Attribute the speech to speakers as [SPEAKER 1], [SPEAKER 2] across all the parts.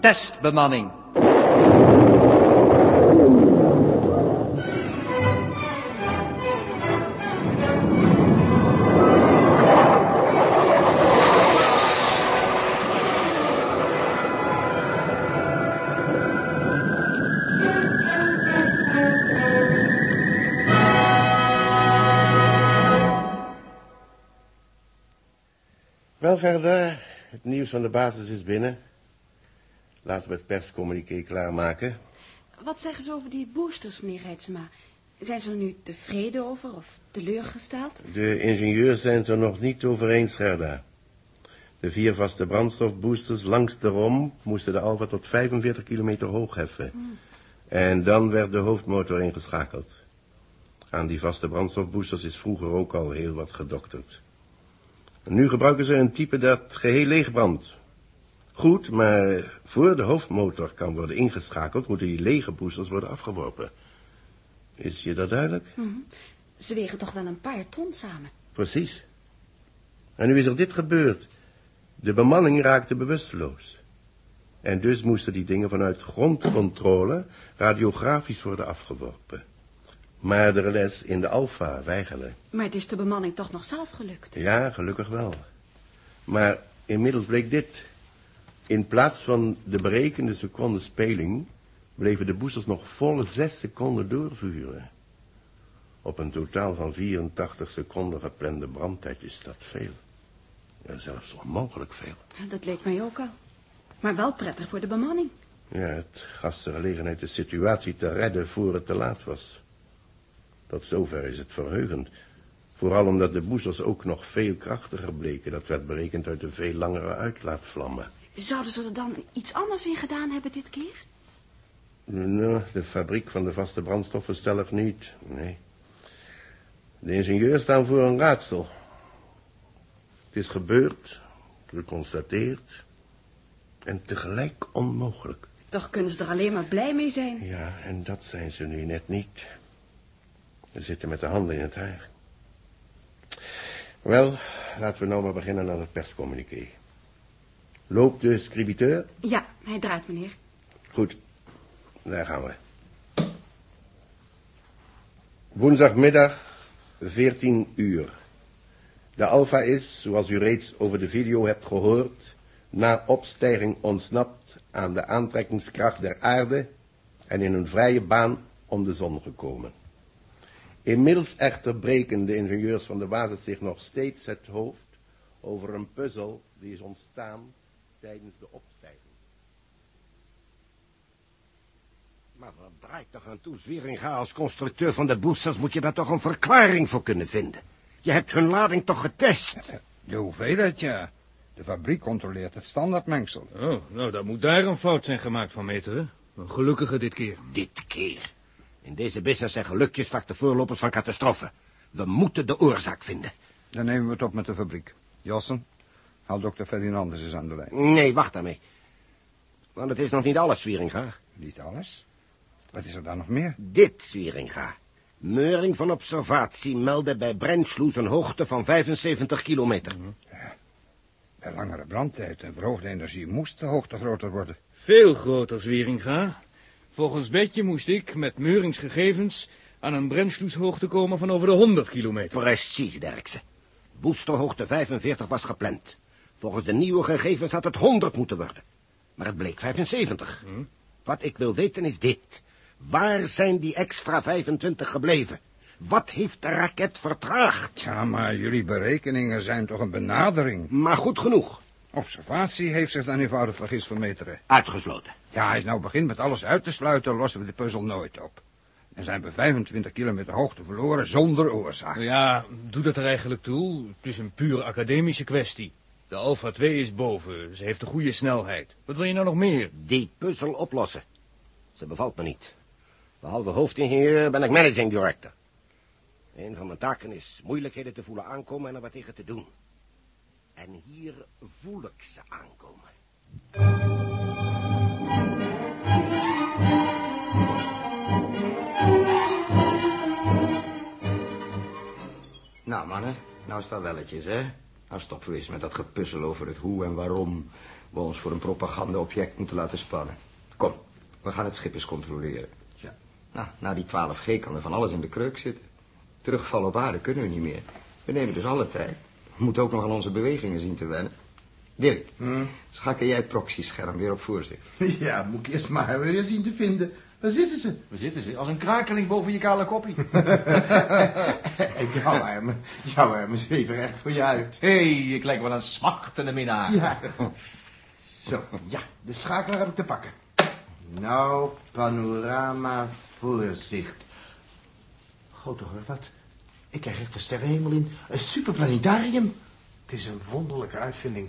[SPEAKER 1] testbemanning.
[SPEAKER 2] Wel, Gerda, het nieuws van de basis is binnen. Laten we het perscommuniqué klaarmaken.
[SPEAKER 3] Wat zeggen ze over die boosters, meneer Reitsma? Zijn ze er nu tevreden over of teleurgesteld?
[SPEAKER 2] De ingenieurs zijn het er nog niet over eens, Gerda. De vier vaste brandstofboosters langs de rom moesten de Alfa tot 45 kilometer hoog heffen. En dan werd de hoofdmotor ingeschakeld. Aan die vaste brandstofboosters is vroeger ook al heel wat gedokterd. Nu gebruiken ze een type dat geheel leeg brandt. Goed, maar eh, voor de hoofdmotor kan worden ingeschakeld... moeten die lege boosters worden afgeworpen. Is je dat duidelijk?
[SPEAKER 3] Ze wegen toch wel een paar ton samen.
[SPEAKER 2] Precies. En nu is er dit gebeurd. De bemanning raakte bewusteloos. En dus moesten die dingen vanuit grondcontrole radiografisch worden afgeworpen. Maar de relais in de Alfa weigerde.
[SPEAKER 3] Maar het is de bemanning toch nog zelf gelukt.
[SPEAKER 2] Ja, gelukkig wel. Maar inmiddels bleek dit. In plaats van de berekende seconde speling... bleven de boosters nog volle zes seconden doorvuren. Op een totaal van 84 seconden geplande brandtijd is dat veel. Ja, zelfs onmogelijk veel.
[SPEAKER 3] Dat leek mij ook al. Maar wel prettig voor de bemanning.
[SPEAKER 2] Ja, het gaf ze gelegenheid de situatie te redden voor het te laat was. Tot zover is het verheugend. Vooral omdat de boezels ook nog veel krachtiger bleken. Dat werd berekend uit de veel langere uitlaatvlammen.
[SPEAKER 3] Zouden ze er dan iets anders in gedaan hebben dit keer?
[SPEAKER 2] Nou, de fabriek van de vaste brandstoffen stellig niet, nee. De ingenieurs staan voor een raadsel. Het is gebeurd, geconstateerd en tegelijk onmogelijk.
[SPEAKER 3] Toch kunnen ze er alleen maar blij mee zijn.
[SPEAKER 2] Ja, en dat zijn ze nu net niet. Ze zitten met de handen in het haar. Wel, laten we nou maar beginnen aan het perscommuniqué. Loopt de scribiteur?
[SPEAKER 3] Ja, hij draait, meneer.
[SPEAKER 2] Goed, daar gaan we. Woensdagmiddag, 14 uur. De Alfa is, zoals u reeds over de video hebt gehoord, na opstijging ontsnapt aan de aantrekkingskracht der aarde en in een vrije baan om de zon gekomen. Inmiddels echter breken de ingenieurs van de basis zich nog steeds het hoofd over een puzzel die is ontstaan tijdens de opstijging.
[SPEAKER 4] Maar wat draait toch aan toe, Zwieringa? Als constructeur van de boosters moet je daar toch een verklaring voor kunnen vinden. Je hebt hun lading toch getest?
[SPEAKER 5] De hoeveelheid, ja. De fabriek controleert het standaardmengsel.
[SPEAKER 6] Oh, nou, dan moet daar een fout zijn gemaakt van meteren. Een gelukkige dit keer.
[SPEAKER 4] Dit keer. In deze business zijn gelukjes vaak de voorlopers van catastrofen. We moeten de oorzaak vinden.
[SPEAKER 5] Dan nemen we het op met de fabriek. Jossen, haal dokter Ferdinandus eens aan de lijn.
[SPEAKER 4] Nee, wacht daarmee. Want het is nog niet alles, Zwieringa.
[SPEAKER 5] Niet alles. Wat is er dan nog meer?
[SPEAKER 4] Dit, Zwieringa. Meuring van observatie meldde bij Brennsloes een hoogte van 75 kilometer.
[SPEAKER 5] Bij langere brandtijd en verhoogde energie moest de hoogte groter worden.
[SPEAKER 6] Veel groter, Zwieringa. Volgens Betje moest ik, met Meurings gegevens, aan een brennsloeshoogte komen van over de 100 kilometer.
[SPEAKER 4] Precies, Derksen. Boosterhoogte 45 was gepland. Volgens de nieuwe gegevens had het 100 moeten worden. Maar het bleek 75. Wat ik wil weten is dit. Waar zijn die extra 25 gebleven? Wat heeft de raket vertraagd?
[SPEAKER 5] Tja, maar jullie berekeningen zijn toch een benadering.
[SPEAKER 4] Maar goed genoeg.
[SPEAKER 5] Observatie heeft zich dan eenvoudig vergist van meteren.
[SPEAKER 4] Uitgesloten.
[SPEAKER 5] Ja, als je nou begint met alles uit te sluiten, lossen we de puzzel nooit op. Dan zijn we 25 kilometer hoogte verloren zonder oorzaak.
[SPEAKER 6] Nou Ja, doe dat er eigenlijk toe. Het is een puur academische kwestie. De Alpha 2 is boven. Ze heeft de goede snelheid. Wat wil je nou nog meer?
[SPEAKER 4] Die puzzel oplossen. Ze bevalt me niet. Behalve hoofdingenieur ben ik managing director. Een van mijn taken is moeilijkheden te voelen aankomen en er wat tegen te doen. En hier voel ik ze aankomen.
[SPEAKER 7] Nou, mannen, nou staan welletjes, hè? Nou stoppen we eens met dat gepuzzel over het hoe en waarom.
[SPEAKER 1] we ons voor een propagandaobject moeten laten spannen. Kom, we gaan het schip eens controleren.
[SPEAKER 8] Ja.
[SPEAKER 1] Nou, na die 12G kan er van alles in de kreuk zitten. Terugvallen op aarde kunnen we niet meer. We nemen dus alle tijd. We moeten ook nog aan onze bewegingen zien te wennen. Dirk,
[SPEAKER 9] Hmm?
[SPEAKER 1] schakel jij het proxyscherm weer op voor zich.
[SPEAKER 5] Ja, moet ik eerst maar weer zien te vinden. Waar zitten ze?
[SPEAKER 9] We zitten ze als een krakeling boven je kale koppie.
[SPEAKER 5] En jouw armen, jouw armen zweven recht voor je uit.
[SPEAKER 9] Hé, ik lijk wel een smachtende minnaar.
[SPEAKER 5] Ja. Zo, ja, de schakelaar heb ik te pakken. Nou, panorama voorzicht. Grote hoor, wat? Ik krijg echt de sterrenhemel in. Een superplanetarium.
[SPEAKER 10] Het is een wonderlijke uitvinding.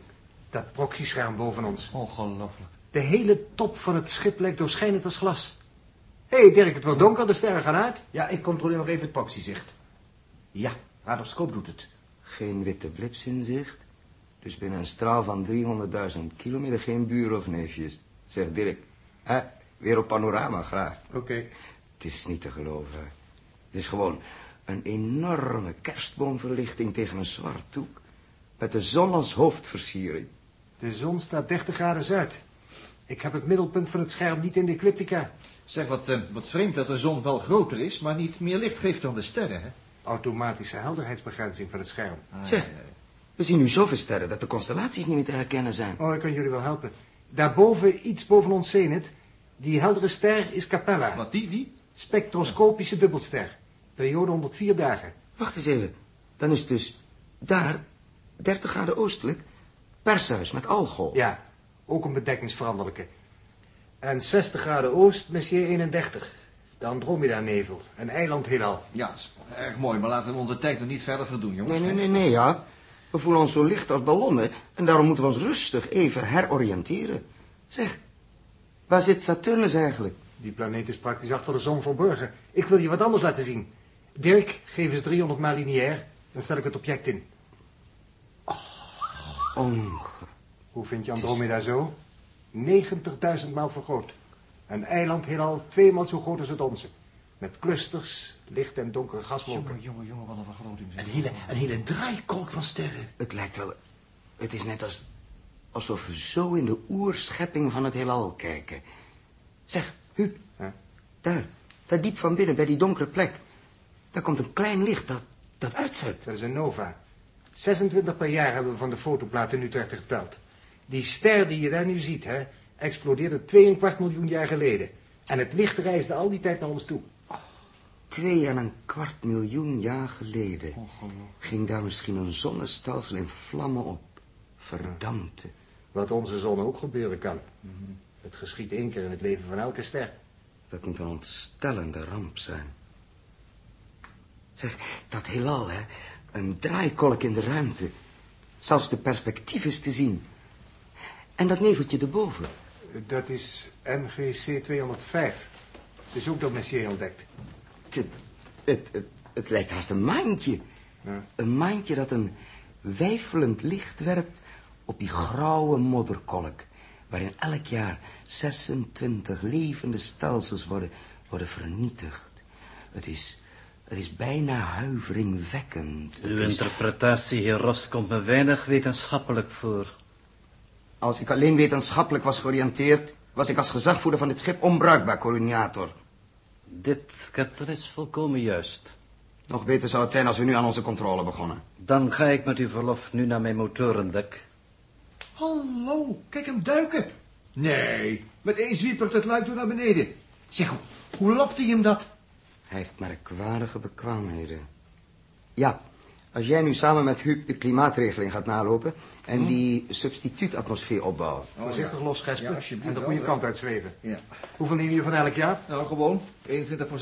[SPEAKER 10] Dat proxyscherm boven ons.
[SPEAKER 9] Ongelooflijk.
[SPEAKER 10] De hele top van het schip lijkt doorschijnend als glas. Hé, hey Dirk, het wordt donker, de sterren gaan uit.
[SPEAKER 5] Ja, ik controleer nog even het proxyzicht. Ja, radarscoop doet het.
[SPEAKER 1] Geen witte blips in zicht. Dus binnen een straal van 300.000 kilometer geen buren of neefjes. Zegt Dirk. Hè? Weer op panorama graag.
[SPEAKER 5] Oké.
[SPEAKER 1] Het is niet te geloven. Het is gewoon een enorme kerstboomverlichting tegen een zwart doek. Met de zon als hoofdversiering.
[SPEAKER 10] De zon staat 30 graden zuid. Ik heb het middelpunt van het scherm niet in de ecliptica.
[SPEAKER 9] Zeg, wat, eh, wat vreemd dat de zon wel groter is, maar niet meer licht geeft dan de sterren, hè?
[SPEAKER 10] Automatische helderheidsbegrenzing van het scherm.
[SPEAKER 1] zeg, we zien nu zoveel sterren dat de constellaties niet meer te herkennen zijn.
[SPEAKER 10] Oh, ik kan jullie wel helpen. Daarboven, iets boven ons zenit, die heldere ster is Capella.
[SPEAKER 9] Wat die, die?
[SPEAKER 10] Spectroscopische dubbelster. Periode 104 dagen.
[SPEAKER 1] Wacht eens even. Dan is het dus daar, 30 graden oostelijk, Perseus met alcohol.
[SPEAKER 10] Ja, ook een bedekkingsveranderlijke. En 60 graden oost, Messier 31. De Andromeda-nevel, een eiland heelal.
[SPEAKER 9] Ja, is erg mooi, maar laten we onze tijd nog niet verder verdoen, jongens.
[SPEAKER 1] Nee, nee, nee, nee, ja. We voelen ons zo licht als ballonnen en daarom moeten we ons rustig even heroriënteren. Zeg, waar zit Saturnus eigenlijk?
[SPEAKER 10] Die planeet is praktisch achter de zon verborgen. Ik wil je wat anders laten zien. Dirk, geef eens 300 maal lineair, dan stel ik het object in.
[SPEAKER 1] Onge...
[SPEAKER 10] Hoe vind je Andromeda zo? 90.000 maal vergroot. Een eiland heelal tweemaal zo groot als het onze. Met clusters, licht en donkere
[SPEAKER 9] Jongen,
[SPEAKER 10] gaswolken.
[SPEAKER 9] jongen, jongen, wat een vergroting. zeg.
[SPEAKER 5] Een hele, een hele draaikolk van sterren.
[SPEAKER 1] Het lijkt wel... Het is net als, alsof we zo in de oerschepping van het heelal kijken. Zeg, Huub.
[SPEAKER 10] Ja?
[SPEAKER 1] Daar, daar diep van binnen, bij die donkere plek. Daar komt een klein licht dat, dat uitzet.
[SPEAKER 10] Dat is een nova. 26 per jaar hebben we van de fotoplaten nu terecht geteld. Die ster die je daar nu ziet, hè, explodeerde 2,25 miljoen jaar geleden. En het licht reisde al die tijd naar ons toe.
[SPEAKER 1] Twee en een kwart miljoen jaar geleden... ging daar misschien een zonnestelsel in vlammen op. Verdampte.
[SPEAKER 10] Wat onze zon ook gebeuren kan. Het geschiet één keer in het leven van elke ster.
[SPEAKER 1] Dat moet een ontstellende ramp zijn. Zeg, dat heelal, hè? Een draaikolk in de ruimte. Zelfs de perspectief is te zien. En dat neveltje erboven.
[SPEAKER 10] Dat is MGC 205. Het is ook door Messier ontdekt.
[SPEAKER 1] Het, het, het, het, het lijkt haast een maantje.
[SPEAKER 10] Ja.
[SPEAKER 1] Een maantje dat een weifelend licht werpt op die grauwe modderkolk. Waarin elk jaar 26 levende stelsels worden, worden vernietigd. Het is, het is bijna huiveringwekkend. Het
[SPEAKER 4] Uw
[SPEAKER 1] is-
[SPEAKER 4] interpretatie, heer Ross, komt me weinig wetenschappelijk voor.
[SPEAKER 1] Als ik alleen wetenschappelijk was georiënteerd, was ik als gezagvoerder van dit schip onbruikbaar, coördinator.
[SPEAKER 4] Dit, Captain, is volkomen juist.
[SPEAKER 1] Nog beter zou het zijn als we nu aan onze controle begonnen.
[SPEAKER 4] Dan ga ik met uw verlof nu naar mijn motorendek.
[SPEAKER 9] Hallo, kijk hem duiken. Nee, met één zwiepert het luik door naar beneden. Zeg, hoe, hoe lapt hij hem dat?
[SPEAKER 1] Hij heeft merkwaardige bekwaamheden. Ja, als jij nu samen met Huub de klimaatregeling gaat nalopen... en die substituutatmosfeer opbouwen.
[SPEAKER 10] Voorzichtig los, Gesper.
[SPEAKER 9] Ja, alsjeblieft
[SPEAKER 10] en de
[SPEAKER 9] wel,
[SPEAKER 10] goede
[SPEAKER 9] hè.
[SPEAKER 10] kant uitzweven.
[SPEAKER 9] Ja.
[SPEAKER 10] Hoeveel neem je van elk jaar?
[SPEAKER 9] Nou, gewoon. 21%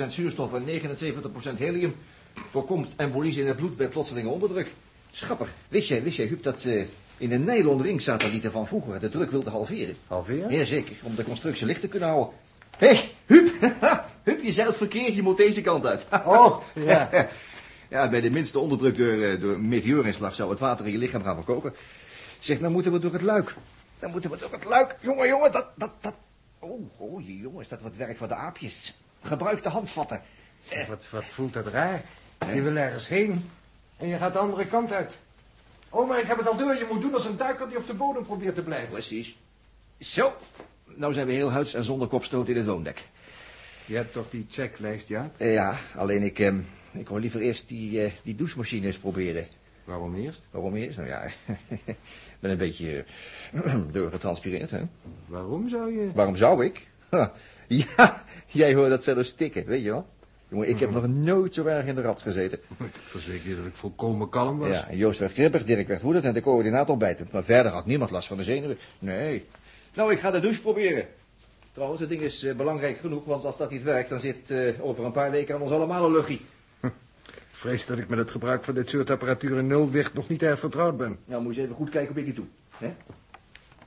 [SPEAKER 9] zuurstof en 79% helium. Voorkomt embolie in het bloed bij plotselinge onderdruk. Schappig. Wist jij, wist jij, Huub, dat eh, in een nylonring satellieten van vroeger de druk wilden halveren?
[SPEAKER 10] Halveer?
[SPEAKER 9] Jazeker, om de constructie licht te kunnen houden. Hé, hey, Huub! Huub, je zeilt verkeerd, je moet deze kant uit.
[SPEAKER 10] Oh, ja.
[SPEAKER 9] ja, bij de minste onderdruk door, eh, door een meteorinslag zou het water in je lichaam gaan verkoken. Zeg, dan moeten we door het luik. Dan moeten we door het luik. Jongen, jongen, dat, dat, dat... Oh, oh, je jongen, is dat wat werk voor de aapjes. Gebruik de handvatten.
[SPEAKER 10] Zeg, wat, wat voelt dat raar? Je wil ergens heen en je gaat de andere kant uit.
[SPEAKER 11] Oh, maar ik heb het al door. Je moet doen als een duiker die op de bodem probeert te blijven.
[SPEAKER 10] Precies. Zo, nou zijn we heel huids en zonder kopstoot in het woondek.
[SPEAKER 11] Je hebt toch die checklist, ja?
[SPEAKER 10] Eh, ja, alleen ik, ehm, ik wou liever eerst die, eh, die douchemachine eens proberen.
[SPEAKER 11] Waarom eerst?
[SPEAKER 10] Waarom eerst? Nou ja, ik ben een beetje eh, doorgetranspireerd, hè?
[SPEAKER 11] Waarom zou je...
[SPEAKER 10] Waarom zou ik? Ha, Ja, jij hoort dat zelfs stikken, weet je wel? Jongen, ik heb
[SPEAKER 11] Mhm.
[SPEAKER 10] nog nooit zo erg in de rats gezeten.
[SPEAKER 11] Ik verzeker je dat ik volkomen kalm was.
[SPEAKER 10] Ja, Joost werd kribbig, Dirk werd woedend en de coördinator ontbijtend. Maar verder had niemand last van de zenuwen. Nee. Nou, ik ga de douche proberen. Trouwens, het ding is eh, belangrijk genoeg, want als dat niet werkt... dan zit eh, over een paar weken aan ons allemaal een luchie.
[SPEAKER 11] Hm. Vrees dat ik met het gebruik van dit soort apparatuur in nulwicht nog niet erg vertrouwd ben.
[SPEAKER 10] Nou, moet je eens even goed kijken op ik die toe. Hè?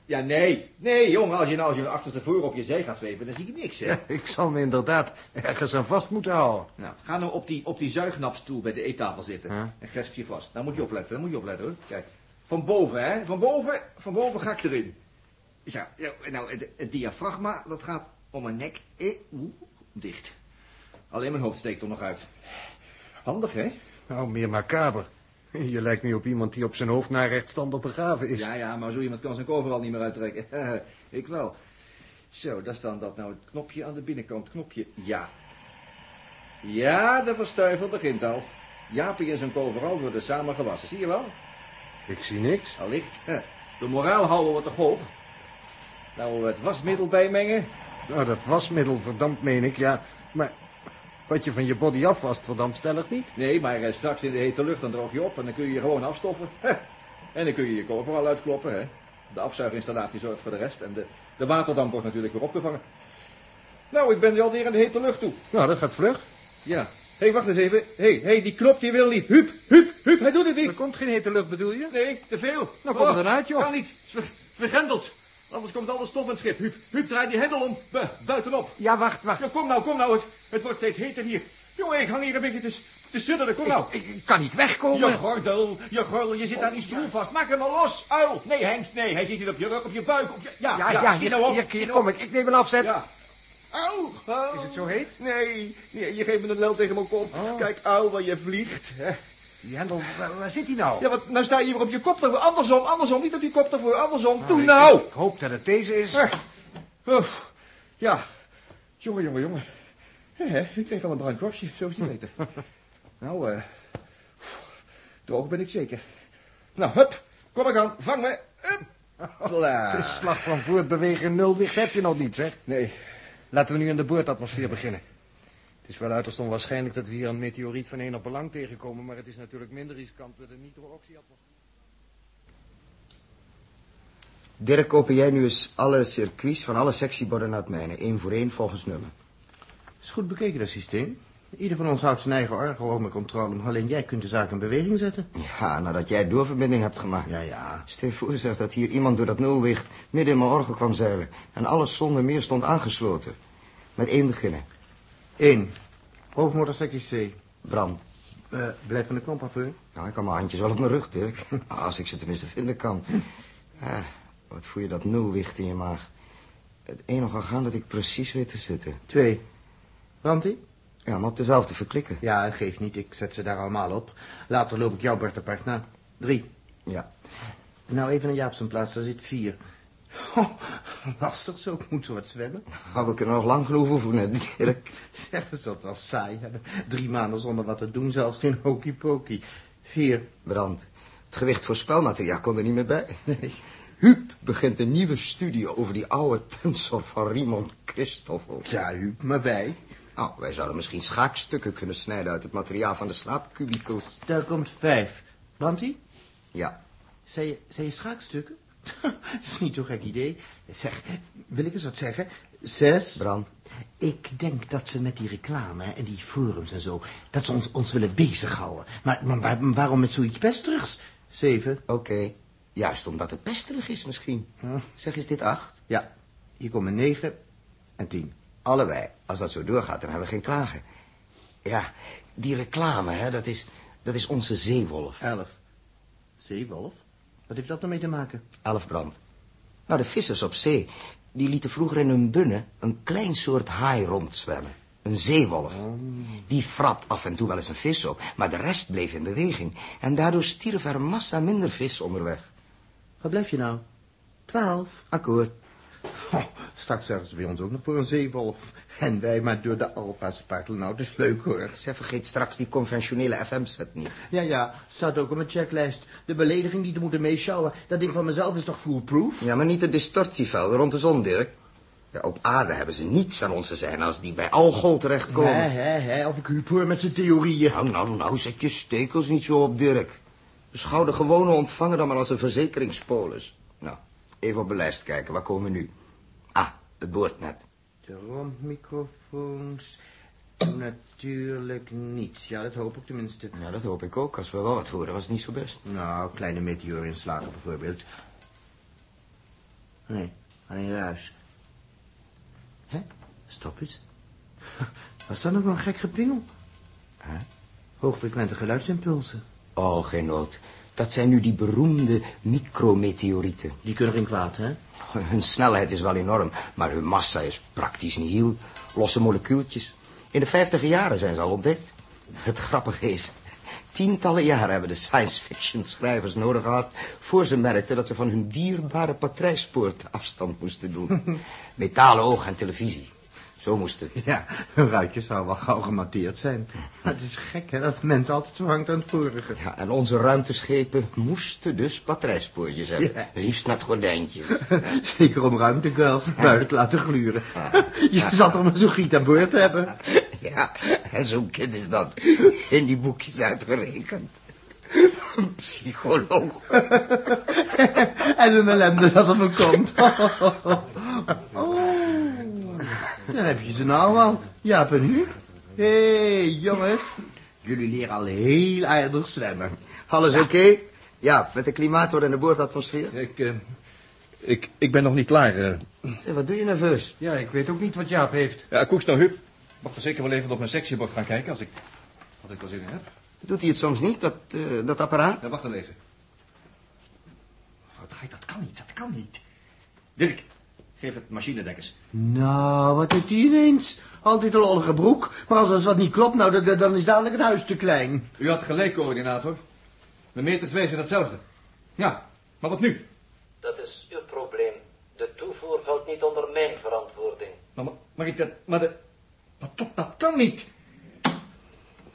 [SPEAKER 10] Ja, nee. Nee, jongen, als je nou als je achterstevoren op je zij gaat zweven, dan zie je niks, hè?
[SPEAKER 11] Ja, ik zal me inderdaad ergens aan vast moeten houden.
[SPEAKER 10] Nou, ga nou op die, op die zuignapstoel bij de eettafel zitten.
[SPEAKER 11] Huh?
[SPEAKER 10] En gesp je vast. Daar moet je opletten, daar moet je opletten, hoor. Kijk, van boven, hè. Van boven, van boven ga ik erin. Zo, nou, nou, het, het diafragma, dat gaat om mijn nek. Eh, oeh, dicht. Alleen mijn hoofd steekt er nog uit. Handig, hè?
[SPEAKER 11] Nou, meer macaber. Je lijkt nu op iemand die op zijn hoofd naar rechtstandig begraven is.
[SPEAKER 10] Ja, ja, maar zo iemand kan zijn overal niet meer uittrekken. ik wel. Zo, daar staan dat nou het knopje aan de binnenkant. Knopje, ja. Ja, de verstuivel begint al. Jaapie en zijn overal worden samen gewassen, zie je wel?
[SPEAKER 11] Ik zie niks.
[SPEAKER 10] Allicht. De moraal houden we toch hoog? Nou, het wasmiddel bijmengen.
[SPEAKER 11] Nou, dat wasmiddel, verdampt meen ik, ja. Maar wat je van je body afwast, verdampt stellig niet.
[SPEAKER 10] Nee, maar eh, straks in de hete lucht dan droog je op en dan kun je je gewoon afstoffen. Heh. En dan kun je je overal uitkloppen. Hè. De afzuiginstallatie zorgt voor de rest en de, de waterdamp wordt natuurlijk weer opgevangen. Nou, ik ben nu alweer in de hete lucht toe.
[SPEAKER 11] Nou, dat gaat vlug.
[SPEAKER 10] Ja. Hé, wacht eens even. Hé, hey, hey, die knop die wil niet. Hup, hup, hup, hij doet het niet.
[SPEAKER 11] Er komt geen hete lucht, bedoel je?
[SPEAKER 10] Nee, te veel. Oh,
[SPEAKER 11] Nou, kom er dan uit, joh.
[SPEAKER 10] Kan niet. Is Ver, vergrendeld. Anders komt alle stof in het schip. Hup, hup, draai die hendel om. Bu- buitenop.
[SPEAKER 11] Ja, wacht, wacht.
[SPEAKER 10] Ja, kom nou, kom nou. Het, het wordt steeds heter hier. Jongen, ik hang hier een beetje te, s- te sidderen. Kom nou.
[SPEAKER 11] Ik, ik kan niet wegkomen.
[SPEAKER 10] Je gordel, je gordel, je zit aan die stoel vast. Maak hem nou los. Uil. Nee, Hengst, nee. Hij zit hier op je rug, op je buik. Op je... Ja,
[SPEAKER 11] ja,
[SPEAKER 10] ja, ja,
[SPEAKER 11] ja,
[SPEAKER 10] schiet
[SPEAKER 11] hier,
[SPEAKER 10] nou op.
[SPEAKER 11] hier,
[SPEAKER 10] schiet
[SPEAKER 11] hier
[SPEAKER 10] nou
[SPEAKER 11] kom
[SPEAKER 10] op.
[SPEAKER 11] ik. Ik neem een afzet.
[SPEAKER 10] Ja. Auw, auw.
[SPEAKER 11] Is het zo heet? Oh.
[SPEAKER 10] Nee, nee, je geeft me een lel tegen mijn kop. Kijk, auw, waar je vliegt. hè.
[SPEAKER 11] Die hendel, waar, waar zit hij nou?
[SPEAKER 10] Ja, want nou sta je hier weer op je kop ervoor. Andersom, andersom, niet op je kop ervoor. Andersom,
[SPEAKER 11] Ah,
[SPEAKER 10] doe
[SPEAKER 11] ik-
[SPEAKER 10] nou.
[SPEAKER 11] Ik, ik hoop dat het deze is.
[SPEAKER 10] Eh, oh, Ja, jongen, jongen, jongen. Hè, hè, Ik kreeg al een bruin korstje, zo is het niet beter. nou, eh, droog ben ik zeker. Nou, hup, kom ik aan, vang me. Hupla.
[SPEAKER 11] De slag van voortbewegen nul wicht heb je nog niet, zeg.
[SPEAKER 10] Nee,
[SPEAKER 11] Laten we nu in de boordatmosfeer beginnen. Het is wel uiterst onwaarschijnlijk dat we hier een meteoriet van één op belang tegenkomen, maar het is natuurlijk minder riskant met een nitrooxyatmosfeer.
[SPEAKER 7] Dirk, open jij nu eens alle circuits van alle sectieborden naar het mijne. één voor één volgens nummer.
[SPEAKER 1] Is goed bekeken, dat systeem. Ieder van ons houdt zijn eigen orgel onder controle, maar alleen jij kunt de zaak in beweging zetten.
[SPEAKER 7] Ja, nadat jij doorverbinding hebt gemaakt.
[SPEAKER 1] Ja, ja.
[SPEAKER 7] Stel je voor zeg, dat hier iemand door dat nullicht midden in mijn orgel kwam zeilen. En alles zonder meer stond aangesloten. Met één beginnen.
[SPEAKER 1] 1. Hoofdmotorsectie C.
[SPEAKER 7] Brand.
[SPEAKER 1] Eh, blijf van de knop af, hoor.
[SPEAKER 7] Nou, ik kan mijn handjes wel op mijn rug, Dirk. Nou, Als ik ze tenminste vinden kan. Ah, wat voel je dat nulwicht in je maag. Het enige orgaan dat ik precies weet te zitten.
[SPEAKER 1] 2. Brandy?
[SPEAKER 7] Ja, maar op dezelfde verklikken.
[SPEAKER 1] Ja, geef niet. Ik zet ze daar allemaal op. Later loop ik jouw beurtenpart na. 3.
[SPEAKER 7] Ja.
[SPEAKER 1] Nou, even een Jaap zijn plaats. Daar zit 4. Oh, lastig zo. Ik moet zo wat zwemmen.
[SPEAKER 7] Nou, we kunnen nog lang genoeg oefenen, Dirk.
[SPEAKER 1] Zeg, dat is dat wel saai. hebben. Drie maanden zonder wat te doen. Zelfs geen hokey-pokey. 4.
[SPEAKER 7] Brand. Het gewicht voor spelmateriaal kon er niet meer bij. Huub begint een nieuwe studie over die oude tensor van Riemann Christoffel.
[SPEAKER 1] Ja, Huub, maar wij.
[SPEAKER 7] Nou, wij zouden misschien schaakstukken kunnen snijden uit het materiaal van de slaapkubikels.
[SPEAKER 1] Daar komt 5. Brandy?
[SPEAKER 7] Ja,
[SPEAKER 1] Zijn je, zei je schaakstukken? Dat is niet zo'n gek idee. Zeg, wil ik eens wat zeggen? Zes.
[SPEAKER 7] brand.
[SPEAKER 1] Ik denk dat ze met die reclame en die forums en zo... dat ze ons, ons willen bezighouden. Maar, maar waar- waarom met zoiets pesterigs? Zeven.
[SPEAKER 7] Oké. Juist omdat het pesterig is misschien. Zeg, is dit acht?
[SPEAKER 1] Ja, hier komen negen en tien.
[SPEAKER 7] Allebei. Als dat zo doorgaat, dan hebben we geen klagen. Ja, die reclame, hè, dat is, dat is onze zeewolf.
[SPEAKER 1] Elf. Zeewolf? Wat heeft dat nou mee te maken?
[SPEAKER 7] Elf brand. Nou, de vissers op zee, die lieten vroeger in hun bunnen een klein soort haai rondzwemmen.
[SPEAKER 10] Een zeewolf.
[SPEAKER 1] Oh.
[SPEAKER 10] Die frapt af en toe wel eens een vis op, maar de rest bleef in beweging. En daardoor stierf er massa minder vis onderweg. Wat blijf je nou? Twaalf. Akkoord.
[SPEAKER 1] Oh, straks zeggen ze bij ons ook nog voor een zeewolf. En wij maar door de alfa spartelen. Nou, dat is leuk hoor.
[SPEAKER 10] Zij vergeet straks die conventionele FM-set niet.
[SPEAKER 12] Ja, ja, staat ook op mijn checklist. De belediging die te moeten meeschouwen. Dat ding van mezelf is toch foolproof?
[SPEAKER 10] Ja, maar niet het distortieveld rond de zon, Dirk. Ja, op aarde hebben ze niets aan ons te zijn als die bij Algol terechtkomen.
[SPEAKER 12] Hè, hè, hè, of ik Huub hoor met zijn theorieën.
[SPEAKER 10] Nou, nou, nou, zet je stekels niet zo op, Dirk. Beschouw de gewone ontvanger dan maar als een verzekeringspolis. Nou, even op de lijst kijken. Waar komen we nu? Ah, het boordnet.
[SPEAKER 1] De rondmicrofoons... Natuurlijk niet. Ja, dat hoop ik tenminste.
[SPEAKER 10] Nou, dat hoop ik ook. Als we wel wat horen, was het niet zo best.
[SPEAKER 1] Nou, kleine meteorinslagen bijvoorbeeld. Nee, alleen ruis. Hé, stop eens. Wat is dat nou voor een gek gepingel?
[SPEAKER 10] Hè?
[SPEAKER 1] Hoogfrequente geluidsimpulsen.
[SPEAKER 10] Oh, geen nood. Dat zijn nu die beroemde micrometeorieten.
[SPEAKER 1] Die kunnen geen kwaad, hè?
[SPEAKER 10] Hun snelheid is wel enorm, maar hun massa is praktisch nihil. Losse molecuultjes. In de vijftiger jaren zijn ze al ontdekt. Het grappige is, tientallen jaren hebben de science fiction schrijvers nodig gehad... voor ze merkten dat ze van hun dierbare patrijspoort afstand moesten doen. Metalen oog en televisie. Zo moest het.
[SPEAKER 1] Ja, hun ruitje zou wel gauw gematteerd zijn. Maar het is gek, hè, dat mens altijd zo hangt aan het vorige.
[SPEAKER 10] Ja, en onze ruimteschepen moesten dus patrijspoortjes hebben.
[SPEAKER 1] Ja.
[SPEAKER 10] Liefst met gordijntjes.
[SPEAKER 1] Zeker om ruimteguils buiten te laten gluren. Je zal toch maar zo'n giet aan boord hebben.
[SPEAKER 10] Ja, en zo'n kind is dan in die boekjes uitgerekend. Een psycholoog.
[SPEAKER 1] en een ellende dat op me komt. Dan heb je ze nou al. Ja, en nu? Hé, hey, jongens. Jullie leren al heel aardig zwemmen.
[SPEAKER 10] Alles oké? Ja, met de klimaatdoor en de boordatmosfeer.
[SPEAKER 13] Ik, eh, ik, ik ben nog niet klaar. eh.
[SPEAKER 10] Zeg, wat doe je nerveus?
[SPEAKER 14] Ja, ik weet ook niet wat Jaap heeft.
[SPEAKER 13] Ja, Koeks, nou, Huub. Mag er zeker wel even op mijn sectiebord gaan kijken als ik, als ik er zin in heb.
[SPEAKER 10] Doet hij het soms niet, dat, eh, dat apparaat?
[SPEAKER 13] Ja, wacht dan even. Mevrouw Draait, dat kan niet, dat kan niet. Dirk, geef het machinedek eens.
[SPEAKER 1] Nou, wat heeft hij ineens? Altijd een lollige broek. Maar als, als dat niet klopt, nou, dan- dan, dan is dadelijk het huis te klein.
[SPEAKER 13] U had gelijk, coördinator. Mijn meters wezen datzelfde. Ja, maar wat nu?
[SPEAKER 4] Dat is uw probleem. De toevoer valt niet onder mijn verantwoording.
[SPEAKER 13] Nou, Maar, maar, maar ik dat... Maar, de, maar dat, dat kan niet.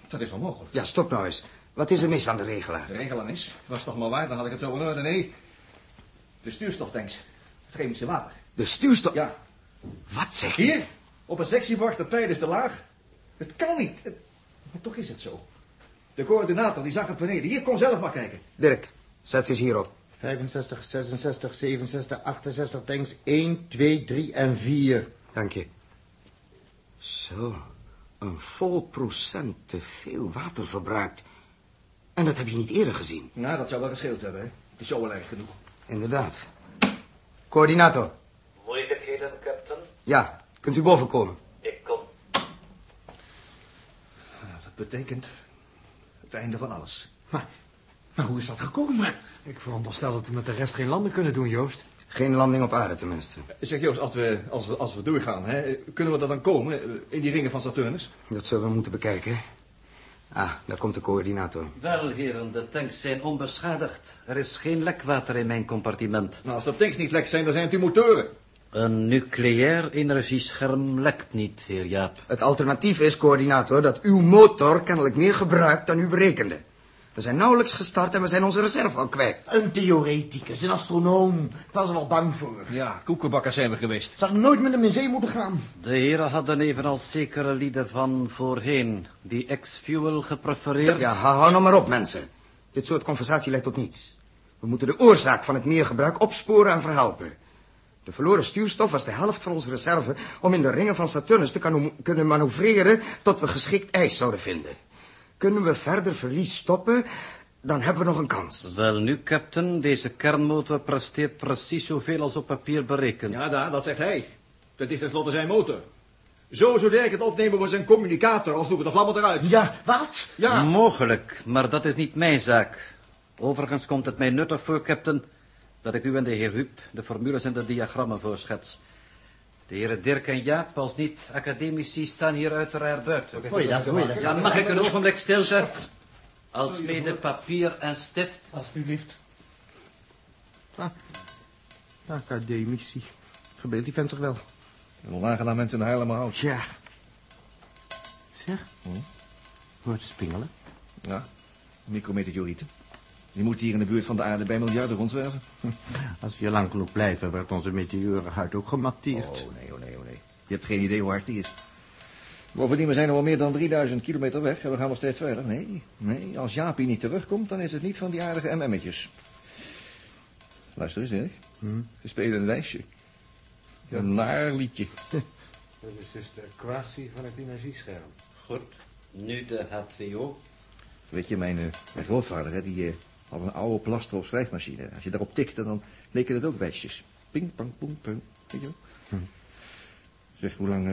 [SPEAKER 13] Dat is onmogelijk.
[SPEAKER 10] Ja, stop nou eens. Wat is er mis aan de regelaar?
[SPEAKER 13] De regel aan is, was toch maar waar, dan had ik het zo in orde. Nee, de stuurstoftanks. Het chemische water.
[SPEAKER 10] De stuurstof...
[SPEAKER 13] Ja.
[SPEAKER 10] Wat zeg je?
[SPEAKER 13] Hier, op een sectiebord, de pijl is te laag. Het kan niet. Het- maar toch is het zo. De coördinator, die zag het beneden. Hier, kom zelf maar kijken.
[SPEAKER 10] Dirk, zet ze eens hierop.
[SPEAKER 1] 65, 66, 67, 68 tanks. 1, 2, 3 en 4.
[SPEAKER 10] Dank je. Zo, een vol procent te veel water verbruikt. En dat heb je niet eerder gezien.
[SPEAKER 13] Nou, dat zou wel gescheeld hebben, hè. Het is zo wel erg genoeg.
[SPEAKER 10] Inderdaad. Coördinator,
[SPEAKER 4] Moeilijkheden, captain?
[SPEAKER 10] ja, kunt u boven komen?
[SPEAKER 4] Ik kom.
[SPEAKER 13] Dat betekent het einde van alles.
[SPEAKER 14] Maar hoe is dat gekomen? Ik veronderstel dat we met de rest geen landen kunnen doen, Joost.
[SPEAKER 10] Geen landing op aarde tenminste.
[SPEAKER 13] Zeg Joost, als we, als we, als we doorgaan, hè, kunnen we er dan komen eh, in die ringen van Saturnus?
[SPEAKER 10] Dat zullen we moeten bekijken. Ah, daar komt de coördinator.
[SPEAKER 4] Wel, heren, de tanks zijn onbeschadigd. Er is geen lekwater in mijn compartiment.
[SPEAKER 13] Nou, als de tanks niet lek zijn, dan zijn het die motoren.
[SPEAKER 4] Een nucleair energiescherm lekt niet, heer Jaap.
[SPEAKER 10] Het alternatief is, coördinator, dat uw motor kennelijk meer gebruikt dan u berekende. We zijn nauwelijks gestart en we zijn onze reserve al kwijt.
[SPEAKER 12] Een theoreticus, een astronoom. Ik was er wel bang voor.
[SPEAKER 13] Ja, koekenbakkers zijn we geweest.
[SPEAKER 12] Zou ik nooit met hem in zee moeten gaan?
[SPEAKER 4] De heren hadden evenals zekere lieden van voorheen die X-fuel geprefereerd.
[SPEAKER 10] Ja, hou, hou nou maar op, mensen. Dit soort conversatie leidt tot niets. We moeten de oorzaak van het meergebruik opsporen en verhelpen. De verloren stuurstof was de helft van onze reserve om in de ringen van Saturnus te kano- kunnen manoeuvreren tot we geschikt ijs zouden vinden. Kunnen we verder verlies stoppen, dan hebben we nog een kans.
[SPEAKER 4] Wel nu, captain, deze kernmotor presteert precies zoveel als op papier berekend.
[SPEAKER 13] Ja, Nou, daar, dat zegt hij. Dat is tenslotte zijn motor. Zo zou Dirk het opnemen voor zijn communicator, als doe ik de vlammen eruit.
[SPEAKER 12] Ja, wat?
[SPEAKER 13] Ja.
[SPEAKER 4] Mogelijk, maar dat is niet mijn zaak. Overigens komt het mij nuttig voor, captain, dat ik u en de heer Huub de formules en de diagrammen voorschets.
[SPEAKER 10] De heren Dirk en Jaap, als niet-academici, staan hier uiteraard buiten.
[SPEAKER 15] Hoor je dat, hoor je dat?
[SPEAKER 10] Dan mag ik een ogenblik stilte. Als mede papier en stift.
[SPEAKER 15] Alsjeblieft. Ah, academici. Verbeeld die vent zich wel.
[SPEAKER 5] Een onaangenaam mensen in Haarlem houdt.
[SPEAKER 15] Ja. Zeg, hoort te spingelen?
[SPEAKER 5] Ja, micrometeorieten. Die moeten hier in de buurt van de aarde bij miljarden rondzwerven.
[SPEAKER 15] Als we hier lang genoeg blijven, wordt onze meteorenhuid ook gematteerd.
[SPEAKER 5] Oh, nee, oh, nee, oh, nee. Je hebt geen idee hoe hard die is. Bovendien, we zijn al meer dan 3000 kilometer weg en we gaan nog steeds verder. Nee, nee, als Jaapie niet terugkomt, dan is het niet van die aardige MM'tjes. Luister eens, Dirk.
[SPEAKER 16] Hmm?
[SPEAKER 5] Ze spelen een lijstje. Ja, Een naar liedje.
[SPEAKER 16] Dat is dus de kwastie van het energiescherm.
[SPEAKER 10] Goed, nu de H2O.
[SPEAKER 5] Weet je, mijn, eh, mijn grootvader, hè, die eh, had een oude plaster of schrijfmachine. Als je daarop tikte, dan leken het ook wijsjes. Ping, pang, poeng, peung. Weet je wel?
[SPEAKER 15] Hm.
[SPEAKER 5] Zeg, hoe lang, eh,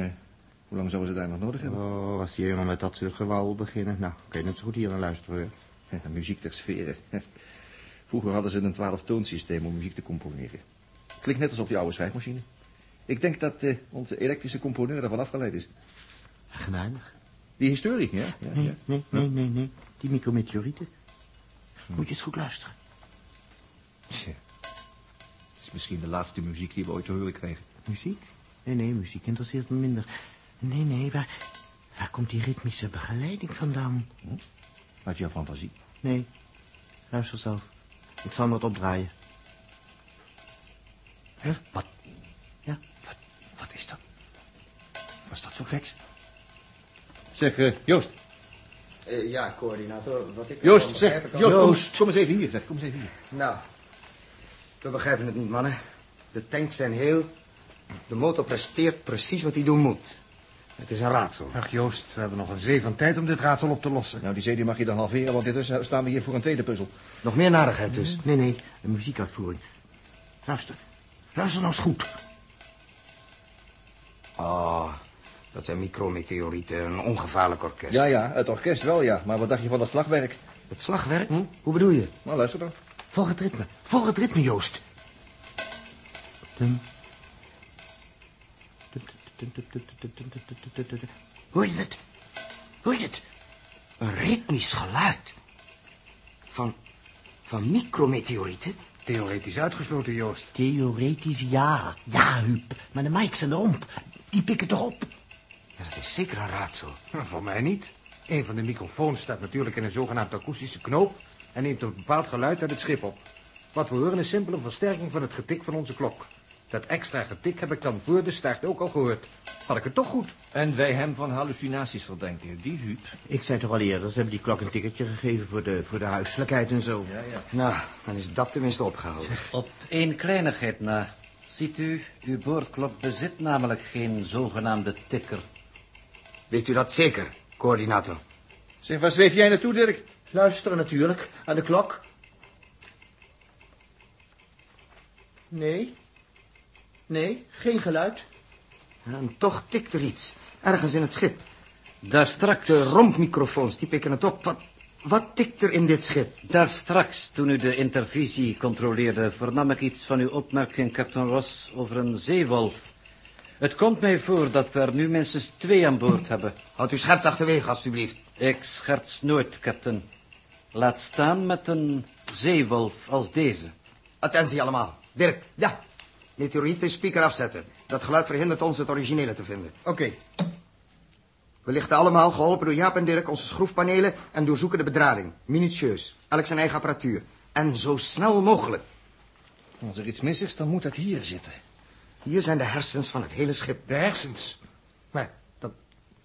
[SPEAKER 5] hoe lang zouden ze daar nog nodig hebben?
[SPEAKER 15] Oh, als die helemaal met dat soort gewauwel beginnen. Nou, kun je net zo goed hier aan luisteren. hoor.
[SPEAKER 5] Ja, muziek ter sfere. Vroeger hadden ze een twaalftoonsysteem om muziek te componeren. Klinkt net als op die oude schrijfmachine. Ik denk dat eh, onze elektrische componeur daarvan afgeleid is.
[SPEAKER 15] Eigenaardig.
[SPEAKER 5] Die historie, ja? ja,
[SPEAKER 15] Nee,
[SPEAKER 5] ja.
[SPEAKER 15] nee, nee, nee, nee. Die micrometeorieten. Moet je eens goed luisteren.
[SPEAKER 5] Tja. Het is misschien de laatste muziek die we ooit te horen kregen.
[SPEAKER 15] Muziek? Nee, nee, muziek interesseert me minder. Nee, nee, waar, waar komt die ritmische begeleiding vandaan?
[SPEAKER 5] Hm? Uit jouw fantasie.
[SPEAKER 15] Nee, luister zelf. Ik zal me wat opdraaien. Huh? Wat? Ja.
[SPEAKER 5] Wat is dat? Wat is dat voor geks? Zeg, eh, Joost.
[SPEAKER 1] Eh, ja, coördinator. Wat ik
[SPEAKER 5] Joost, zeg. Joost, kom- Kom, eens even hier, zeg. Kom eens even hier.
[SPEAKER 1] Nou, we begrijpen het niet, mannen. De tanks zijn heel. De motor presteert precies wat hij doen moet. Het is een raadsel.
[SPEAKER 16] Ach Joost, we hebben nog een zee van tijd om dit raadsel op te lossen.
[SPEAKER 5] Nou, die zee die mag je dan halveren, want intussen staan we hier voor een tweede puzzel.
[SPEAKER 1] Nog meer narigheid dus.
[SPEAKER 15] Nee, nee, een muziekuitvoering. Luister. Luister nou eens goed.
[SPEAKER 1] Oh, dat zijn micrometeorieten, een ongevaarlijk orkest.
[SPEAKER 5] Ja, ja, het orkest wel, ja. Maar wat dacht je van dat slagwerk?
[SPEAKER 1] Het slagwerk?
[SPEAKER 15] Hm?
[SPEAKER 1] Hoe bedoel je?
[SPEAKER 5] Nou, luister dan.
[SPEAKER 15] Volg het ritme. Volg het ritme, Joost. Dum. Dum, dum, dum, dum, dum, dum, dum, dum, dum, dum, dum. Hoor je het? Hoor je het?
[SPEAKER 1] Een ritmisch geluid. Van, van micrometeorieten?
[SPEAKER 16] Theoretisch uitgesloten, Joost.
[SPEAKER 15] Theoretisch ja. Ja, Huub. Maar de mics en de romp, die pikken toch op?
[SPEAKER 1] Ja, dat is zeker een raadsel.
[SPEAKER 16] Nou, voor mij niet. Een van de microfoons staat natuurlijk in een zogenaamd akoestische knoop... en neemt een bepaald geluid uit het schip op. Wat we horen is simpel een versterking van het getik van onze klok. Dat extra getik heb ik dan voor de start ook al gehoord. Had ik het toch goed?
[SPEAKER 5] En wij hem van hallucinaties verdenken. Die huub.
[SPEAKER 15] Ik zei toch al eerder, ze hebben die klok een tikkertje gegeven voor de, voor de huiselijkheid en zo.
[SPEAKER 5] Ja, ja.
[SPEAKER 1] Nou, dan is dat tenminste opgehouden.
[SPEAKER 10] Op één kleinigheid na. Ziet u, uw boordklok bezit namelijk geen zogenaamde tikker.
[SPEAKER 1] Weet u dat zeker, coördinator?
[SPEAKER 5] Zeg, waar zweef jij naartoe, Dirk?
[SPEAKER 15] Luisteren natuurlijk, aan de klok. Nee. Nee, geen geluid.
[SPEAKER 1] Ja, en toch tikt er iets. Ergens in het schip.
[SPEAKER 10] Daar straks,
[SPEAKER 1] De rompmicrofoons, die pikken het op. Wat, wat tikt er in dit schip?
[SPEAKER 10] daar straks, toen u de intervisie controleerde, vernam ik iets van uw opmerking, Captain Ross, over een zeewolf. Het komt mij voor dat we er nu minstens twee aan boord hebben.
[SPEAKER 1] Houd uw scherts achterwege, alstublieft.
[SPEAKER 10] Ik scherts nooit, Captain. Laat staan met een zeewolf als deze.
[SPEAKER 1] Attentie allemaal. Dirk, ja. Meteorieten speaker afzetten. Dat geluid verhindert ons het originele te vinden. Oké. We lichten allemaal, geholpen door Jaap en Dirk, onze schroefpanelen en doorzoeken de bedrading. Minutieus. Elk zijn eigen apparatuur. En zo snel mogelijk.
[SPEAKER 5] Als er iets mis is, dan moet dat hier zitten.
[SPEAKER 1] Hier zijn de hersens van het hele schip.
[SPEAKER 16] De hersens. Maar dat,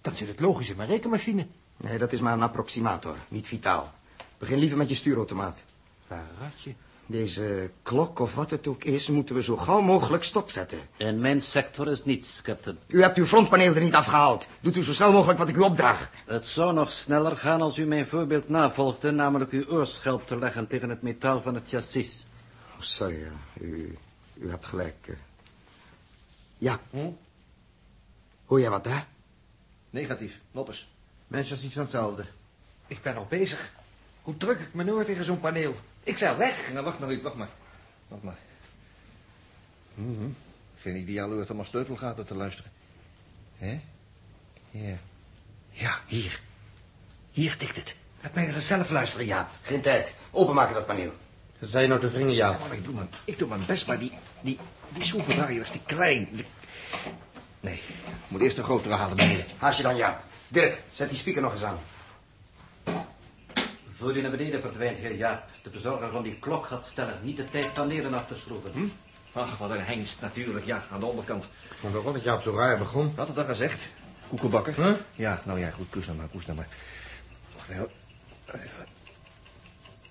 [SPEAKER 16] dat zit het logisch in mijn rekenmachine.
[SPEAKER 1] Nee, dat is maar een approximator, niet vitaal. Begin liever met je stuurautomaat.
[SPEAKER 16] Waar had je?
[SPEAKER 1] Deze klok of wat het ook is, moeten we zo gauw mogelijk stopzetten.
[SPEAKER 10] In mijn sector is niets, Captain.
[SPEAKER 1] U hebt uw frontpaneel er niet afgehaald. Doet u zo snel mogelijk wat ik u opdraag.
[SPEAKER 10] Het zou nog sneller gaan als u mijn voorbeeld navolgde, namelijk uw oorschelp te leggen tegen het metaal van het chassis.
[SPEAKER 1] Oh, sorry, ja. u, u hebt gelijk. eh. Ja.
[SPEAKER 10] Hm?
[SPEAKER 1] Hoor jij wat, hè?
[SPEAKER 5] Negatief. Loppers.
[SPEAKER 15] Mensen als iets van hetzelfde.
[SPEAKER 16] Ik ben al bezig. Hoe druk ik me nooit tegen zo'n paneel? Ik zou weg.
[SPEAKER 10] Mhm.
[SPEAKER 5] Nou, wacht maar, Huub, wacht maar. Wacht maar. Geen ideale oord om als sleutelgaten te luisteren. Hè? Ja. Ja, hier.
[SPEAKER 17] Hier tikt het. Laat mij wel eens zelf luisteren, Jaap. Geen tijd. Openmaken dat paneel.
[SPEAKER 1] Zij nou te wringen, Jaap.
[SPEAKER 17] ik, doe mijn, ik doe mijn best, maar die, die, die schroevendraaier is te klein. Die-
[SPEAKER 1] Nee, moet eerst een grotere halen beneden. Haast je dan, Jaap. Dirk, zet die speaker nog eens aan.
[SPEAKER 10] Voor u naar beneden verdwijnt, heer Jaap. De bezorger van die klok had stellig niet de tijd van leren af te schroeven.
[SPEAKER 1] Hm?
[SPEAKER 5] Ach, wat een hengst natuurlijk. Ja, aan de onderkant.
[SPEAKER 1] Maar waarom dat Jaap zo raar begon?
[SPEAKER 5] Wat had dat gezegd? Koekenbakker? Huh? Ja, nou ja, goed. Koes nou maar, koes nou maar. Wacht even.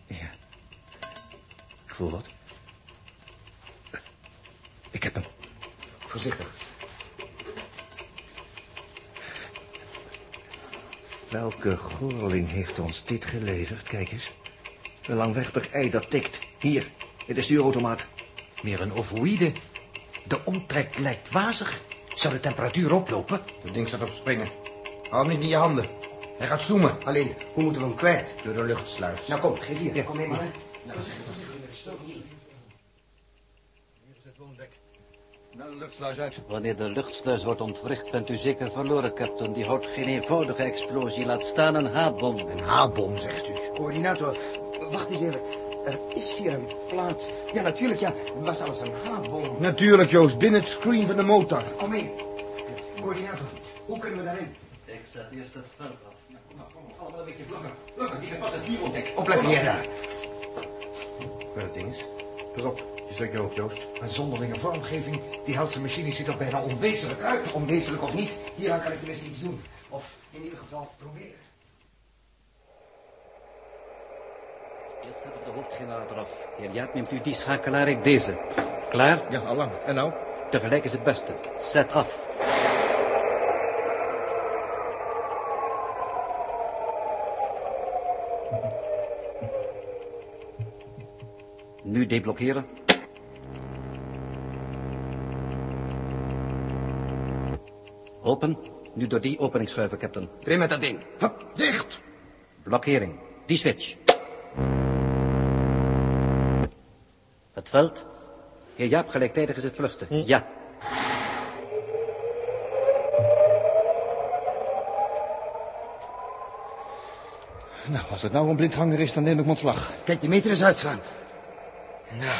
[SPEAKER 5] Ja. Ik voel wat. Ik heb hem.
[SPEAKER 1] Voorzichtig.
[SPEAKER 5] Welke gorling heeft ons dit geleverd? Kijk eens. Een langwerpig ei dat tikt. Hier, in de stuurautomaat.
[SPEAKER 17] Meer een ovoïde. De omtrek lijkt wazig. Zou de temperatuur oplopen?
[SPEAKER 1] Dat ding staat op springen. Hou hem niet in je handen. Hij gaat zoomen. Alleen, hoe moeten we hem kwijt? Door de luchtsluis. Nou kom, geef hier. Kom mee, mannen.
[SPEAKER 18] Nou, de luchtsluis uit.
[SPEAKER 10] Wanneer de luchtsluis wordt ontwricht, bent u zeker verloren, kapitein. Die houdt geen eenvoudige explosie, laat staan een H-bom. Een
[SPEAKER 1] H-bom, Nou, zegt u? Coördinator, wacht eens even. Er is hier een plaats. Ja, natuurlijk, ja. Er was zelfs een haatbom. Natuurlijk, Joost. Binnen het screen van de motor. Kom mee. Coördinator, hoe kunnen we daarin?
[SPEAKER 10] Ik zet eerst het veld af.
[SPEAKER 5] Allemaal een beetje vlakker. Vlakker, die pas het hier ontdekt.
[SPEAKER 1] Opletten, jij daar. Wat het ding is. Pas op, je stuk je hoofd, Joost.
[SPEAKER 19] Een zonderlinge vormgeving, die houdt zijn machine ziet er bijna onwezenlijk uit.
[SPEAKER 1] Onwezenlijk of niet, hieraan kan ik tenminste iets doen. Of in ieder geval proberen.
[SPEAKER 10] Eerst zetten we de hoofdgenerator af. Heer Jaap, neemt u die schakelaar, ik deze. Klaar?
[SPEAKER 5] Ja, allang. En nou?
[SPEAKER 10] Tegelijk is het beste. Zet af. Nu deblokkeren. Open. Nu door die opening schuiven, captain.
[SPEAKER 1] Erin met dat ding. Hup, dicht.
[SPEAKER 10] Blokkering. Die switch. Het veld. Hm. Heer Jaap, gelijktijdig is het vluchten. Ja.
[SPEAKER 5] Nou, als het nou een blindganger is, dan neem ik mijn slag.
[SPEAKER 1] Kijk, die meter eens uitslaan. Nou,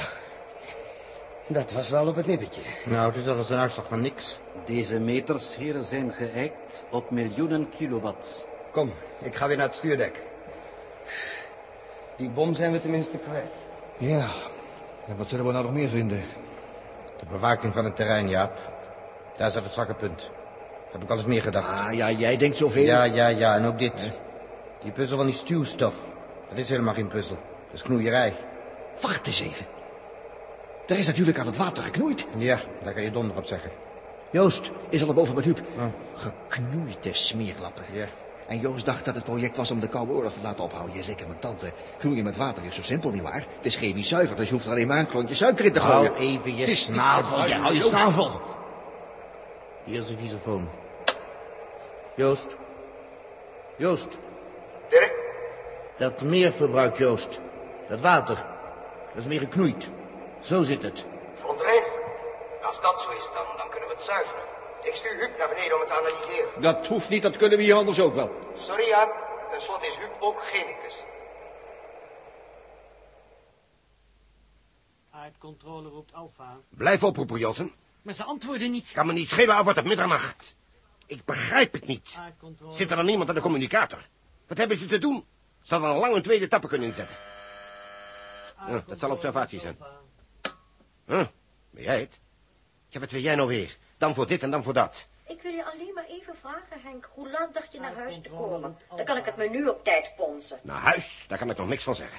[SPEAKER 1] dat was wel op het nippertje. Nou, dus dat is een uitslag van niks.
[SPEAKER 10] Deze meters, heren, zijn geëikt op miljoenen kilowatts.
[SPEAKER 1] Kom, ik ga weer naar het stuurdek. Die bom zijn we tenminste kwijt.
[SPEAKER 5] Ja. En wat zullen we nou nog meer vinden?
[SPEAKER 1] De bewaking van het terrein, Jaap. Daar zat het zwakke punt. Heb ik al eens meer gedacht.
[SPEAKER 5] Ah, ja, jij denkt zoveel.
[SPEAKER 1] Ja, ja, ja, en ook dit. Die puzzel van die stuwstof. Dat is helemaal geen puzzel. Dat is knoeierij.
[SPEAKER 17] Wacht eens even. Er is natuurlijk aan het water geknoeid.
[SPEAKER 1] Ja, daar kan je donder op zeggen.
[SPEAKER 17] Joost is al boven met Huub.
[SPEAKER 5] Ah.
[SPEAKER 17] Geknoeide smeerlappen.
[SPEAKER 1] Ja.
[SPEAKER 17] En Joost dacht dat het project was om de Koude Oorlog te laten ophouden. Jazeker, mijn tante. Knoeien met water is zo simpel, nietwaar? Het is chemisch zuiver, dus je hoeft er alleen maar een klontje suiker in te
[SPEAKER 1] Hou
[SPEAKER 17] gooien.
[SPEAKER 1] even je
[SPEAKER 17] Het is niet-
[SPEAKER 1] snavel,
[SPEAKER 17] Ja, hou je
[SPEAKER 1] Joost.
[SPEAKER 17] snavel.
[SPEAKER 1] Hier is een visofoon. Joost. Joost. Dat meerverbruik, Joost. Dat water. Dat is meer geknoeid. Zo zit het.
[SPEAKER 20] Verontreinigd. Als dat zo is, dan, dan kunnen we het zuiveren. Ik stuur Huub naar beneden om het te analyseren.
[SPEAKER 5] Dat hoeft niet, dat kunnen we hier anders ook wel.
[SPEAKER 20] Sorry, Jaap. Ten slotte is Huub ook chemicus.
[SPEAKER 6] Aardcontrole roept Alfa.
[SPEAKER 4] Blijf oproepen, Jossen.
[SPEAKER 6] Maar ze antwoorden niet.
[SPEAKER 4] Kan me niet schelen, al wordt het middernacht. Ik begrijp het niet.
[SPEAKER 6] Aardcontrole.
[SPEAKER 4] Zit er dan niemand aan de communicator? Wat hebben ze te doen? Ze hadden al lang een tweede tappen kunnen inzetten. Ja, dat zal observatie zijn. Huh, ben jij het? Ja, wat wil jij nou weer? Dan voor dit en dan voor dat.
[SPEAKER 3] Ik wil je alleen maar even vragen, Henk. Hoe laat dacht je naar huis te komen? Dan kan ik het menu op tijd ponsen.
[SPEAKER 4] Naar huis, daar kan ik nog niks van zeggen.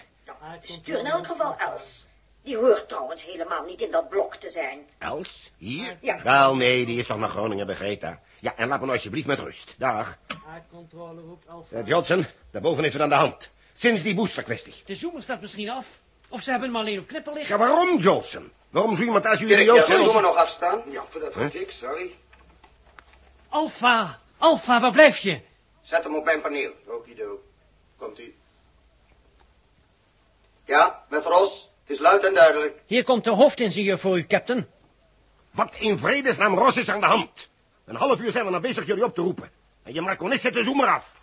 [SPEAKER 3] Stuur in elk geval Els. Die hoort trouwens helemaal niet in dat blok te zijn.
[SPEAKER 4] Els? Hier?
[SPEAKER 3] Ja.
[SPEAKER 4] Wel, nee, die is toch naar Groningen bij Greta. Ja, en laat me nou alsjeblieft met rust. Dag.
[SPEAKER 6] Aardcontrole roept Alfa.
[SPEAKER 4] Eh, Johnson, daarboven heeft het aan de hand. Sinds die boosterkwestie.
[SPEAKER 6] De zoomer staat misschien af. Of ze hebben hem alleen op knippen liggen.
[SPEAKER 4] Ja, waarom, Johnson? Waarom zo iemand als u...
[SPEAKER 20] Dirk,
[SPEAKER 4] idioot
[SPEAKER 20] ja, de
[SPEAKER 4] wil-
[SPEAKER 20] zomer nog afstaan? Ja, voor dat
[SPEAKER 4] Huh?
[SPEAKER 20] goed ik, sorry.
[SPEAKER 6] Alfa, Alfa, waar blijf je?
[SPEAKER 20] Zet hem op mijn paneel. Okido. Komt u. Ja, met Ros. Het is luid en duidelijk.
[SPEAKER 6] Hier komt de hoofdingenieur voor u, captain.
[SPEAKER 4] Wat in vredesnaam Ros is aan de hand? Een half uur zijn we nou bezig jullie op te roepen. En je marconis zet de zoemer af.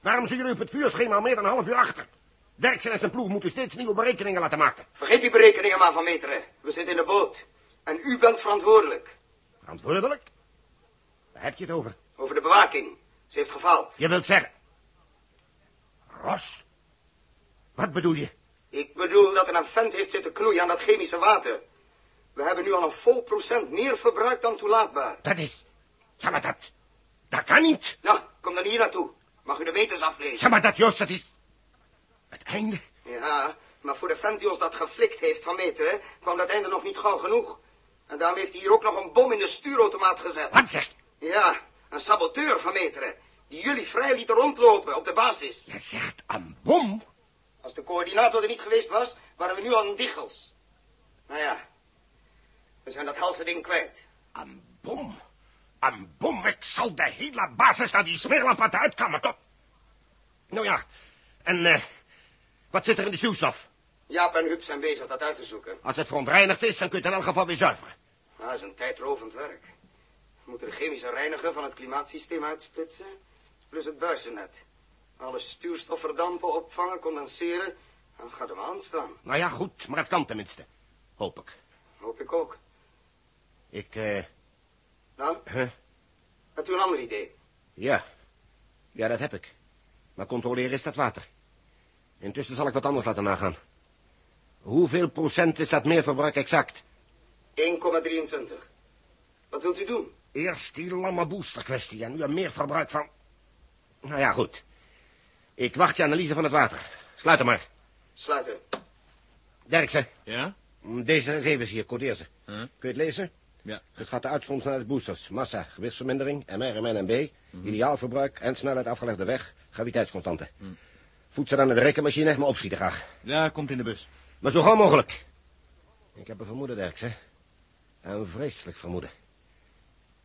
[SPEAKER 4] Waarom zijn jullie op het vuurschema al meer dan een half uur achter? Derksen en zijn ploeg moeten steeds nieuwe berekeningen laten maken.
[SPEAKER 21] Vergeet die berekeningen maar van meteren. We zitten in de boot. En u bent verantwoordelijk.
[SPEAKER 4] Verantwoordelijk? Waar heb je het over?
[SPEAKER 21] Over de bewaking. Ze heeft gefaald.
[SPEAKER 4] Je wilt zeggen... Ros? Wat bedoel je?
[SPEAKER 21] Ik bedoel dat er een vent heeft zitten knoeien aan dat chemische water. We hebben nu al een vol procent meer verbruikt dan toelaatbaar.
[SPEAKER 4] Dat is... Ja, maar dat... Dat kan niet.
[SPEAKER 21] Nou, kom dan hier naartoe. Mag u de meters aflezen?
[SPEAKER 4] Ja, maar dat, Joost, dat is... Het einde.
[SPEAKER 21] Ja, maar voor de vent die ons dat geflikt heeft van meteren... kwam dat einde nog niet gauw genoeg. En daarom heeft hij hier ook nog een bom in de stuurautomaat gezet.
[SPEAKER 4] Wat zeg
[SPEAKER 21] Ja, een saboteur van meteren. Die jullie vrij liet rondlopen op de basis.
[SPEAKER 4] Je zegt een bom?
[SPEAKER 21] Als de coördinator er niet geweest was, waren we nu al in diggels. Nou ja, we zijn dat helse ding kwijt.
[SPEAKER 4] Een bom? Een bom? Ik zal de hele basis naar die smeerlap laten uitkomen, tot... Nou ja, en eh, wat zit er in de zuurstof?
[SPEAKER 21] Jaap en Huub zijn bezig dat uit te zoeken.
[SPEAKER 4] Als het verontreinigd is, dan kun je het in elk geval weer zuiveren.
[SPEAKER 21] Nou, dat is een tijdrovend werk. We moeten de chemische reiniger van het klimaatsysteem uitsplitsen. Plus het buizennet. Alle stuurstofverdampen opvangen, condenseren. Dan gaat hem aanstaan.
[SPEAKER 4] Nou ja, goed, maar het kan tenminste. Hoop ik.
[SPEAKER 21] Hoop ik ook.
[SPEAKER 4] Ik, eh...
[SPEAKER 21] Nou,
[SPEAKER 4] huh?
[SPEAKER 21] had u een ander idee?
[SPEAKER 4] Ja. Ja, dat heb ik. Maar controleren is dat water. Intussen zal ik wat anders laten nagaan. Hoeveel procent is dat meerverbruik exact?
[SPEAKER 21] 1,23. Wat wilt u doen?
[SPEAKER 4] Eerst die lamme boosterkwestie en nu een meerverbruik van... Nou ja, goed. Ik wacht je analyse van het water. Sluit hem maar.
[SPEAKER 21] Sluiten.
[SPEAKER 4] Derksen,
[SPEAKER 6] Ja?
[SPEAKER 4] deze gegevens hier, codeer ze.
[SPEAKER 6] Huh?
[SPEAKER 4] Kun je het lezen?
[SPEAKER 6] Ja.
[SPEAKER 4] Geschatte uitstoot snelheid boosters, massa, gewichtsvermindering, MR, MN en B, ideaal verbruik en snelheid afgelegde weg, graviteitsconstante. Voed ze dan naar de rekenmachine, maar opschieten graag.
[SPEAKER 6] Ja, komt in de bus.
[SPEAKER 4] Maar zo gauw mogelijk. Ik heb een vermoeden, Derksen. Een vreselijk vermoeden.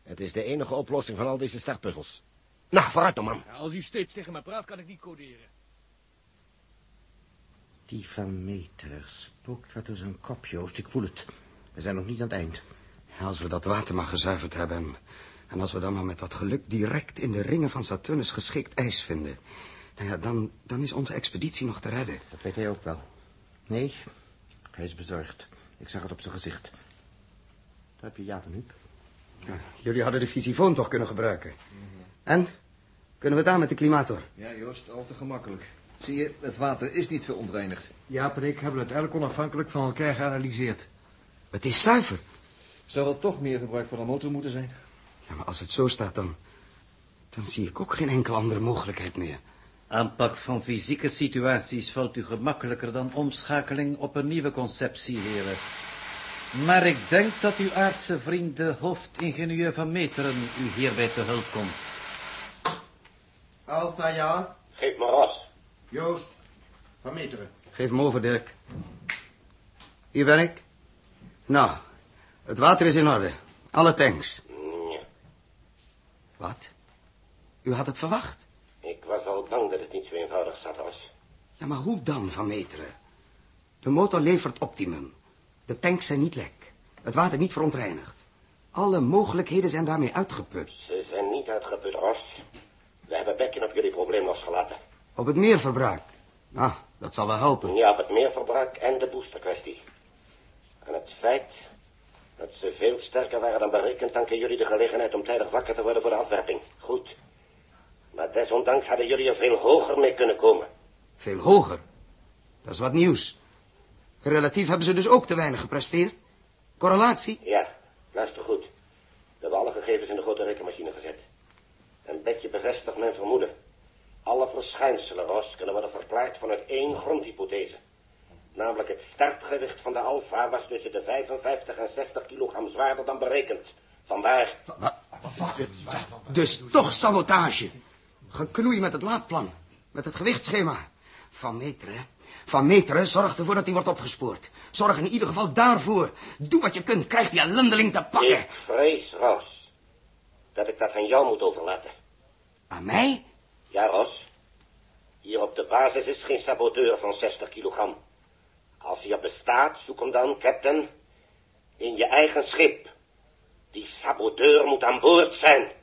[SPEAKER 4] Het is de enige oplossing van al deze startpuzzels. Nou, vooruit dan, man.
[SPEAKER 6] Ja, als u steeds tegen mij praat, kan ik niet coderen.
[SPEAKER 22] Die van meter spookt wat door zijn kop, Joost. Ik voel het. We zijn nog niet aan het eind.
[SPEAKER 1] Ja, Als we dat water maar gezuiverd hebben... en als we dan maar met wat geluk direct in de ringen van Saturnus geschikt ijs vinden... nou ja, dan, dan is onze expeditie nog te redden.
[SPEAKER 22] Dat weet hij ook wel. Nee, hij is bezorgd. Ik zag het op zijn gezicht. Daar heb je Jaap en Huub.
[SPEAKER 1] Ja, jullie hadden de visifoon toch kunnen gebruiken? En? Kunnen we het aan met de klimator?
[SPEAKER 10] Ja, Joost, al te gemakkelijk. Zie je, het water is niet verontreinigd.
[SPEAKER 11] Jaap en ik hebben het elk onafhankelijk van elkaar geanalyseerd.
[SPEAKER 1] Het is zuiver.
[SPEAKER 10] Zou er toch meer gebruik van de motor moeten zijn?
[SPEAKER 1] Ja, maar als het zo staat, dan... dan zie ik ook geen enkele andere mogelijkheid meer.
[SPEAKER 23] Aanpak van fysieke situaties valt u gemakkelijker dan omschakeling op een nieuwe conceptie, heren. Maar ik denk dat uw aardse vriend, de hoofdingenieur van Meteren, u hierbij te hulp komt.
[SPEAKER 7] Alfa, ja?
[SPEAKER 4] Geef me ras.
[SPEAKER 7] Joost, van meteren.
[SPEAKER 1] Geef hem over, Dirk. Hier ben ik. Nou, het water is in orde. Alle tanks. Wat? U had het verwacht?
[SPEAKER 24] Ik was al bang dat het niet zo eenvoudig zat, Ros.
[SPEAKER 1] Ja, maar hoe dan, Van Meteren? De motor levert optimum. De tanks zijn niet lek. Het water niet verontreinigd. Alle mogelijkheden zijn daarmee uitgeput.
[SPEAKER 24] Ze zijn niet uitgeput, Ros. We hebben Bekken op jullie probleem losgelaten.
[SPEAKER 1] Op het meerverbruik. Nou, dat zal wel helpen.
[SPEAKER 24] Ja, op het meerverbruik en de boosterkwestie. En het feit dat ze veel sterker waren dan berekend, danken jullie de gelegenheid om tijdig wakker te worden voor de afwerping. Goed. Maar desondanks hadden jullie er veel hoger mee kunnen komen.
[SPEAKER 1] Veel hoger. Dat is wat nieuws. Relatief hebben ze dus ook te weinig gepresteerd. Correlatie?
[SPEAKER 24] Ja, luister goed. We hebben alle gegevens in de grote rekenmachine gezet. Een bedje bevestigt mijn vermoeden. Alle verschijnselen, Ros, kunnen worden verklaard vanuit één grondhypothese. Namelijk het startgewicht van de alfa was tussen de 55 en 60 kilogram zwaarder dan berekend. Vandaar...
[SPEAKER 1] Dus toch sabotage. Geknoei met het laadplan. Met het gewichtsschema. Van Meteren. Van Meteren, zorg ervoor dat hij wordt opgespoord. Zorg in ieder geval daarvoor. Doe wat je kunt, krijg die ellendeling te pakken.
[SPEAKER 24] Ik vrees, Ros, dat ik dat aan jou moet overlaten.
[SPEAKER 1] Aan mij?
[SPEAKER 24] Ja, Ros. Hier op de basis is geen saboteur van 60 kilogram. Als hij er bestaat, zoek hem dan, captain, in je eigen schip.
[SPEAKER 4] Die saboteur moet aan boord zijn.